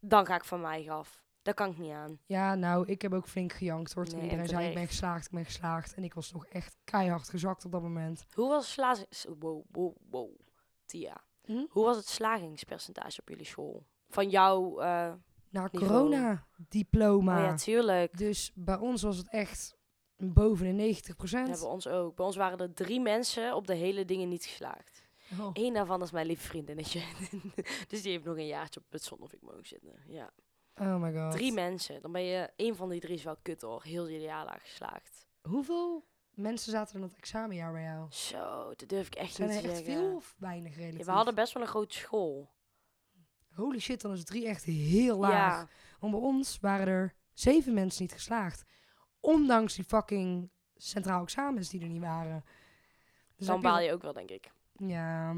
B: dan ga ik van mij af. Daar kan ik niet aan.
A: ja, nou, ik heb ook flink gejankt hoor. Toen
B: Nee, en
A: iedereen zei, ik ben
B: terecht.
A: geslaagd, ik ben geslaagd. En ik was nog echt keihard gezakt op dat moment.
B: Hoe was het slagings... Wow, wow, wow. Tia.
A: Hm?
B: Hoe was het slagingspercentage op jullie school? Van jou... eh
A: Na
B: Niveau.
A: corona-diploma.
B: Oh ja, tuurlijk.
A: Dus bij ons was het echt boven de 90
B: Dat hebben we ons ook. Bij ons waren er drie mensen op de hele dingen niet geslaagd.
A: Oh.
B: Eén daarvan is mijn lieve vriendinnetje. dus die heeft nog een jaartje op het zonnevik mogen zitten. Ja.
A: Oh my god.
B: Drie mensen. Dan ben je één van die drie is wel kut hoor. Heel je jaarlaag geslaagd.
A: Hoeveel mensen zaten er in dat examenjaar bij jou?
B: Zo, dat durf ik echt
A: Zijn
B: niet
A: er
B: te
A: echt
B: zeggen.
A: veel of weinig
B: Ja,
A: relatief?
B: we hadden best wel een grote school.
A: Holy shit, dan is drie echt heel laag.
B: Ja,
A: Want bij ons waren er zeven mensen niet geslaagd. Ondanks die fucking centraal examens die er niet waren. Dus
B: dan
A: heb je-
B: baal je ook wel, denk ik.
A: Ja,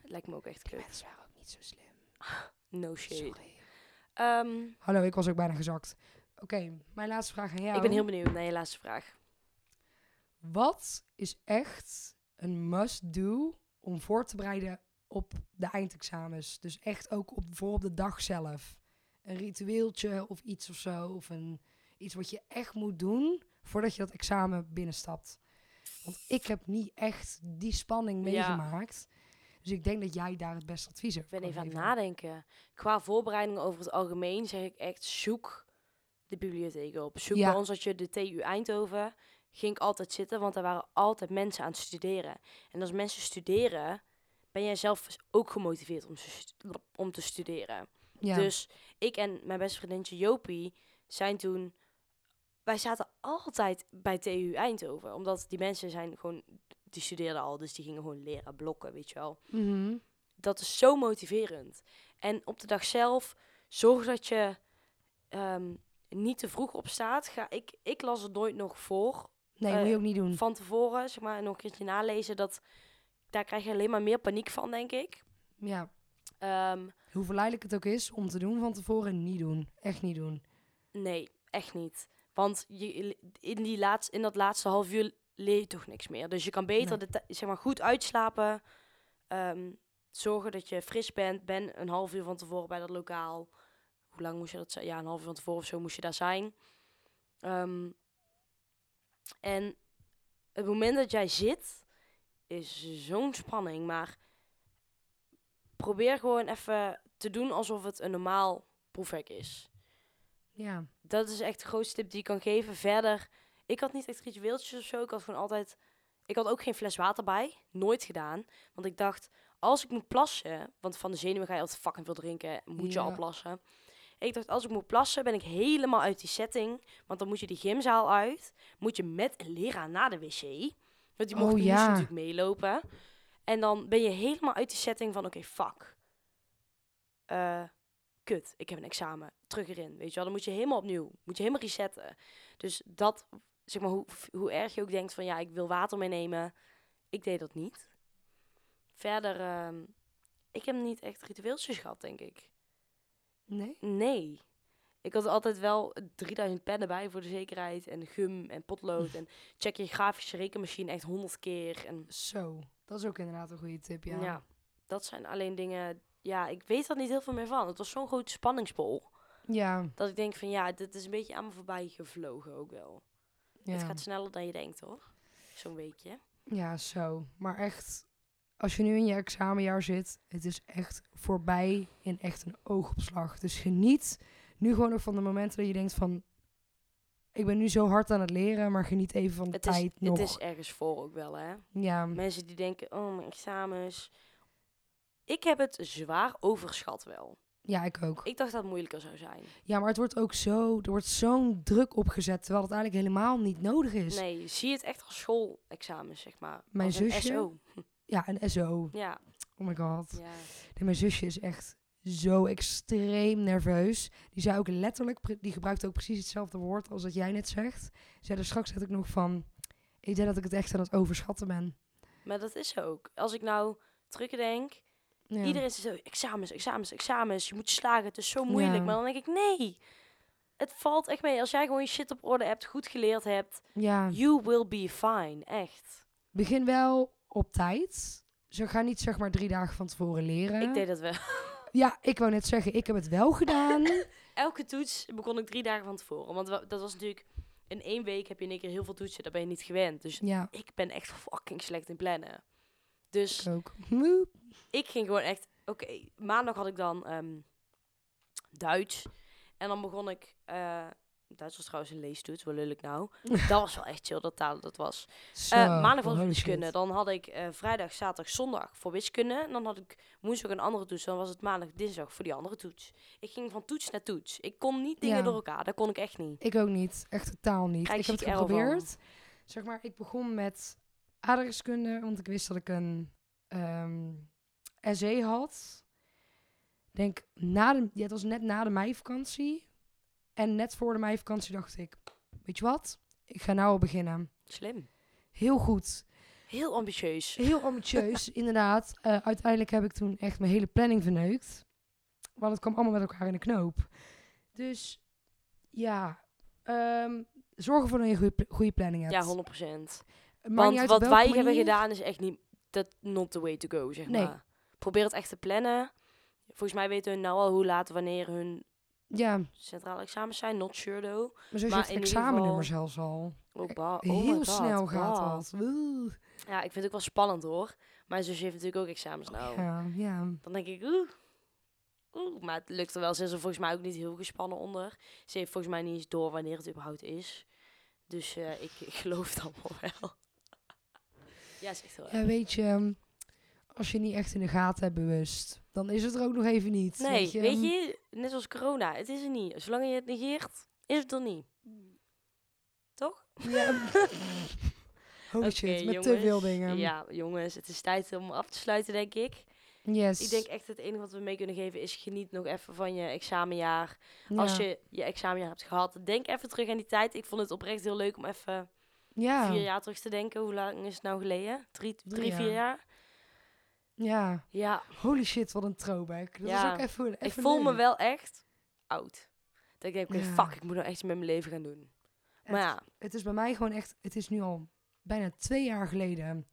B: Het lijkt me ook echt
A: die
B: kut.
A: mensen waren ook niet zo slim.
B: No shade.
A: Sorry.
B: Ehm,
A: Hallo, ik was ook bijna gezakt. Oké, mijn laatste vraag aan jou.
B: Ik ben heel benieuwd naar je laatste vraag.
A: Wat is echt een must-do om voor te bereiden op de eindexamens? Dus echt ook op, voor op de dag zelf. Een ritueeltje of iets of zo. Of een, iets wat je echt moet doen voordat je dat examen binnenstapt. Want ik heb niet echt die spanning
B: Ja.
A: meegemaakt. Dus ik denk dat jij daar het beste advies hebt.
B: Ik ben even aan het nadenken. Qua voorbereiding over het algemeen zeg ik echt zoek de bibliotheek op. Zoek
A: Ja.
B: bij ons dat je de TU Eindhoven ging ik altijd zitten, want daar waren altijd mensen aan het studeren. En als mensen studeren, ben jij zelf ook gemotiveerd om, te stu- om te studeren.
A: Ja.
B: Dus ik en mijn beste vriendinnetje Jopie zijn toen... Wij zaten altijd bij TU Eindhoven. Omdat die mensen zijn gewoon... Die studeerden al, dus die gingen gewoon leren blokken, weet je wel.
A: Mhm.
B: Dat is zo motiverend. En op de dag zelf, zorg dat je ehm, niet te vroeg opstaat. Ga, ik, ik las het nooit nog voor.
A: Nee,
B: eh,
A: moet je ook niet doen.
B: Van tevoren, zeg maar, nog een keertje nalezen. Dat, daar krijg je alleen maar meer paniek van, denk ik.
A: Ja.
B: Ehm,
A: Hoe verleidelijk het ook is om te doen van tevoren, niet doen. Echt niet doen.
B: nee, echt niet. Want je, in, die laatst, in dat laatste half uur leer je toch niks meer. Dus je kan beter de, ti- zeg maar, goed uitslapen. ehm, zorgen dat je fris bent. Ben een half uur van tevoren bij dat lokaal. hoe lang moest je dat zijn? Ja, een half uur van tevoren of zo moest je daar zijn. Ehm, en het moment dat jij zit, is zo'n spanning. Maar probeer gewoon even te doen alsof het een normaal proefwerk is.
A: Ja.
B: Dat is echt de grootste tip die ik kan geven. Verder, ik had niet echt ritueeltjes of zo. Ik had gewoon altijd... Ik had ook geen fles water bij. Nooit gedaan. Want ik dacht, als ik moet plassen... Want van de zenuwen ga je altijd fucking veel drinken. Moet je
A: Ja.
B: al plassen. Ik dacht, als ik moet plassen, ben ik helemaal uit die setting. Want dan moet je die gymzaal uit. Moet je met een leraar naar de wc. Want die
A: Oh,
B: mocht die moest
A: ja.
B: natuurlijk meelopen. En dan ben je helemaal uit die setting van, oké, fuck. Eh, kut, ik heb een examen. Terug erin, weet je wel. Dan moet je helemaal opnieuw. Moet je helemaal resetten. Dus dat, zeg maar, hoe, hoe erg je ook denkt van, ja, ik wil water meenemen. Ik deed dat niet. Verder, ehm, ik heb niet echt ritueeltjes gehad, denk ik.
A: Nee?
B: Nee. Ik had altijd wel 3000 pennen bij voor de zekerheid. En gum en potlood. en check je grafische rekenmachine echt 100 keer. En
A: Zo, dat is ook inderdaad een goede tip, ja.
B: ja. dat zijn alleen dingen... Ja, ik weet daar niet heel veel meer van. Het was zo'n grote spanningsbol.
A: Ja,
B: Dat ik denk van, ja, dit is een beetje aan me voorbij gevlogen ook wel.
A: ja.
B: Het gaat sneller dan je denkt, hoor. Zo'n weekje.
A: ja, zo. Maar echt, als je nu in je examenjaar zit, het is echt voorbij in echt een oogopslag. Dus geniet nu gewoon nog van de momenten dat je denkt van... Ik ben nu zo hard aan het leren, maar geniet even van de
B: Het is,
A: tijd nog. Hm.
B: het is ergens voor ook wel, hè.
A: Ja,
B: Mensen die denken, oh, mijn examens. Ik heb het zwaar overschat wel.
A: ja, ik ook.
B: Ik dacht dat het moeilijker zou zijn.
A: Ja, maar het wordt ook zo... Er wordt zo'n druk opgezet, terwijl het eigenlijk helemaal niet nodig is.
B: Nee, zie het echt als schoolexamen, zeg maar.
A: Dus Mijn
B: als een
A: zusje?
B: SO.
A: Ja, en SO.
B: Ja,
A: Oh my god.
B: ja.
A: Nee, mijn zusje is echt zo extreem nerveus. Die zei ook letterlijk, pre- die gebruikte ook precies hetzelfde woord als dat jij net zegt. Zei er straks net ook nog van, ik denk dat ik het echt aan het overschatten ben.
B: Maar dat is ook. Als ik nou terugdenk,
A: Ja.
B: iedereen is zo, examens, examens, examens. Je moet slagen, het is zo moeilijk.
A: Ja.
B: Maar dan denk ik, nee. Het valt echt mee. Als jij gewoon je shit op orde hebt, goed geleerd hebt,
A: ja,
B: you will be fine. Echt.
A: begin wel op tijd. Ze gaan niet zeg maar drie dagen van tevoren leren.
B: Ik deed dat wel.
A: Ja, ik wou net zeggen, ik heb het wel gedaan.
B: Elke toets begon ik drie dagen van tevoren. Want wa- dat was natuurlijk, in één week heb je in één keer heel veel toetsen. Daar ben je niet gewend. Dus
A: ja,
B: ik ben echt fucking slecht in plannen. Dus
A: ik ook. Woep.
B: ik ging gewoon echt. Oké, maandag had ik dan ehm, Duits. En dan begon ik eh, Duits was trouwens een leestoets, wel lullig nou. dat was wel echt chill dat talen dat was. Eh, maandag was wiskunde. Dan had ik eh, vrijdag, zaterdag, zondag voor wiskunde. En dan had ik woensdag een andere toets. Dan was het maandag, dinsdag voor die andere toets. Ik ging van toets naar toets. Ik kon niet dingen
A: Ja.
B: door elkaar. Dat kon ik echt niet.
A: Ik ook niet. Echt totaal niet.
B: Krijg
A: ik heb
B: je
A: het
B: ziek error van.
A: geprobeerd. Zeg maar, ik begon met aardrijkskunde, want ik wist dat ik een ehm essay had. Denk, na de, ja, het was net na de meivakantie. En net voor de meivakantie dacht ik, weet je wat? Ik ga nou al beginnen.
B: Slim.
A: Heel goed.
B: Heel ambitieus.
A: Heel ambitieus, inderdaad. Eh, uiteindelijk heb ik toen echt mijn hele planning verneukt. Want het kwam allemaal met elkaar in de knoop. Dus ja, ehm, zorg ervoor dat je een goede, goede planning hebt.
B: Ja, 100%.
A: Maakt niet
B: Want
A: uit op
B: wat
A: welke
B: wij hebben
A: manier.
B: gedaan is echt niet dat not the way to go, zeg
A: Nee.
B: maar. Probeer het echt te plannen. Volgens mij weten hun nou al hoe laat wanneer hun
A: Ja, maar
B: centrale examens zijn. Not sure though.
A: zo zit
B: Maar
A: het
B: in ieder
A: examennummer
B: geval-
A: zelfs al.
B: Oh, ba- oh my
A: Eh, Heel
B: God,
A: snel gaat
B: ba.
A: dat. Oeh.
B: Ja, ik vind het ook wel spannend hoor. Mijn zusje heeft natuurlijk ook examens nou.
A: Oh, Ja, ja.
B: Dan denk ik, oeh. Oeh, maar het lukt er wel. Ze is er volgens mij ook niet heel gespannen onder. Ze heeft volgens mij niet eens door wanneer het überhaupt is. Dus eh, ik, ik geloof het allemaal wel. ja, is echt heel erg.
A: ja, weet je, als je niet echt in de gaten hebt bewust, dan is het er ook nog even niet.
B: Nee, weet je,
A: je? ehm,
B: net als corona, het is er niet. Zolang je het negeert, is het er niet. Toch?
A: Ja. Holy
B: Oké,
A: Oh, shit, met te veel
B: jongens.
A: dingen.
B: Ja, jongens, het is tijd om af te sluiten, denk ik.
A: Yes.
B: Ik denk echt het enige wat we mee kunnen geven is geniet nog even van je examenjaar. Als
A: Ja.
B: je je examenjaar hebt gehad, denk even terug aan die tijd. Ik vond het oprecht heel leuk om even
A: ja.
B: vier jaar terug te denken. Hoe lang is het nou geleden? Drie,
A: Drie
B: drie vier
A: jaar. Ja,
B: jaar? Ja,
A: holy shit, wat een throwback. Dat
B: Ja.
A: is ook even, even
B: ik voel me
A: leuk.
B: wel echt oud. Dat ik denk, oké,
A: Ja.
B: fuck, ik moet nou echt iets met mijn leven gaan doen.
A: Het,
B: Maar ja,
A: het is bij mij gewoon echt, het is nu al bijna twee jaar geleden.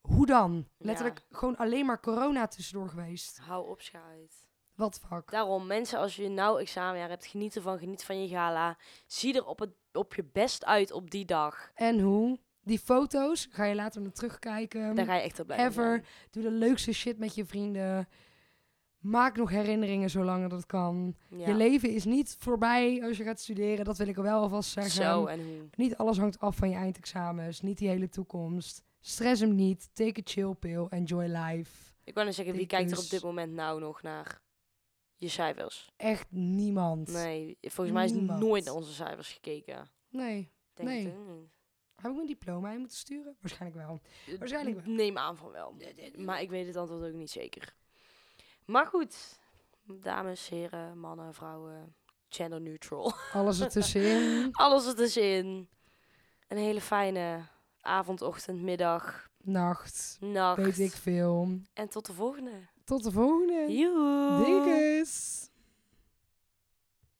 A: Hoe dan? Letterlijk gewoon alleen maar corona tussendoor geweest.
B: hou op, schuit.
A: Wat fuck.
B: Daarom, mensen, als je nou examenjaar hebt, geniet ervan, geniet van je gala. Zie er op, het, op je best uit op die dag.
A: En hoe? Die foto's ga je later naar terugkijken.
B: Daar ga je echt op blijven.
A: ever. Doe de leukste shit met je vrienden. Maak nog herinneringen zolang dat kan.
B: Ja.
A: Je leven is niet voorbij als je gaat studeren. Dat wil ik er wel alvast zeggen.
B: Zo en hoe.
A: Niet alles hangt af van je eindexamens, niet die hele toekomst. Stress hem niet, take a chill pill, enjoy life.
B: Ik wou net zeggen, wie
A: Dit
B: kijkt er
A: is-
B: op dit moment nou nog naar je cijfers?
A: Echt niemand.
B: Nee, volgens mij is
A: Niemand.
B: nooit naar onze cijfers gekeken.
A: Nee.
B: Denk
A: Nee.
B: het ook niet.
A: Heb ik mijn diploma in moeten sturen? Waarschijnlijk wel.
B: Eh,
A: Waarschijnlijk wel.
B: Neem aan van wel. Maar ik weet het antwoord ook niet zeker. Maar goed, dames, heren, mannen, vrouwen, gender neutral.
A: Alles ertussenin.
B: Alles het is in. Een hele fijne avond, ochtend, middag,
A: Nacht.
B: nacht.
A: Weet ik veel.
B: En tot de volgende.
A: Tot de volgende.
B: Joehoe.
A: Dinkus.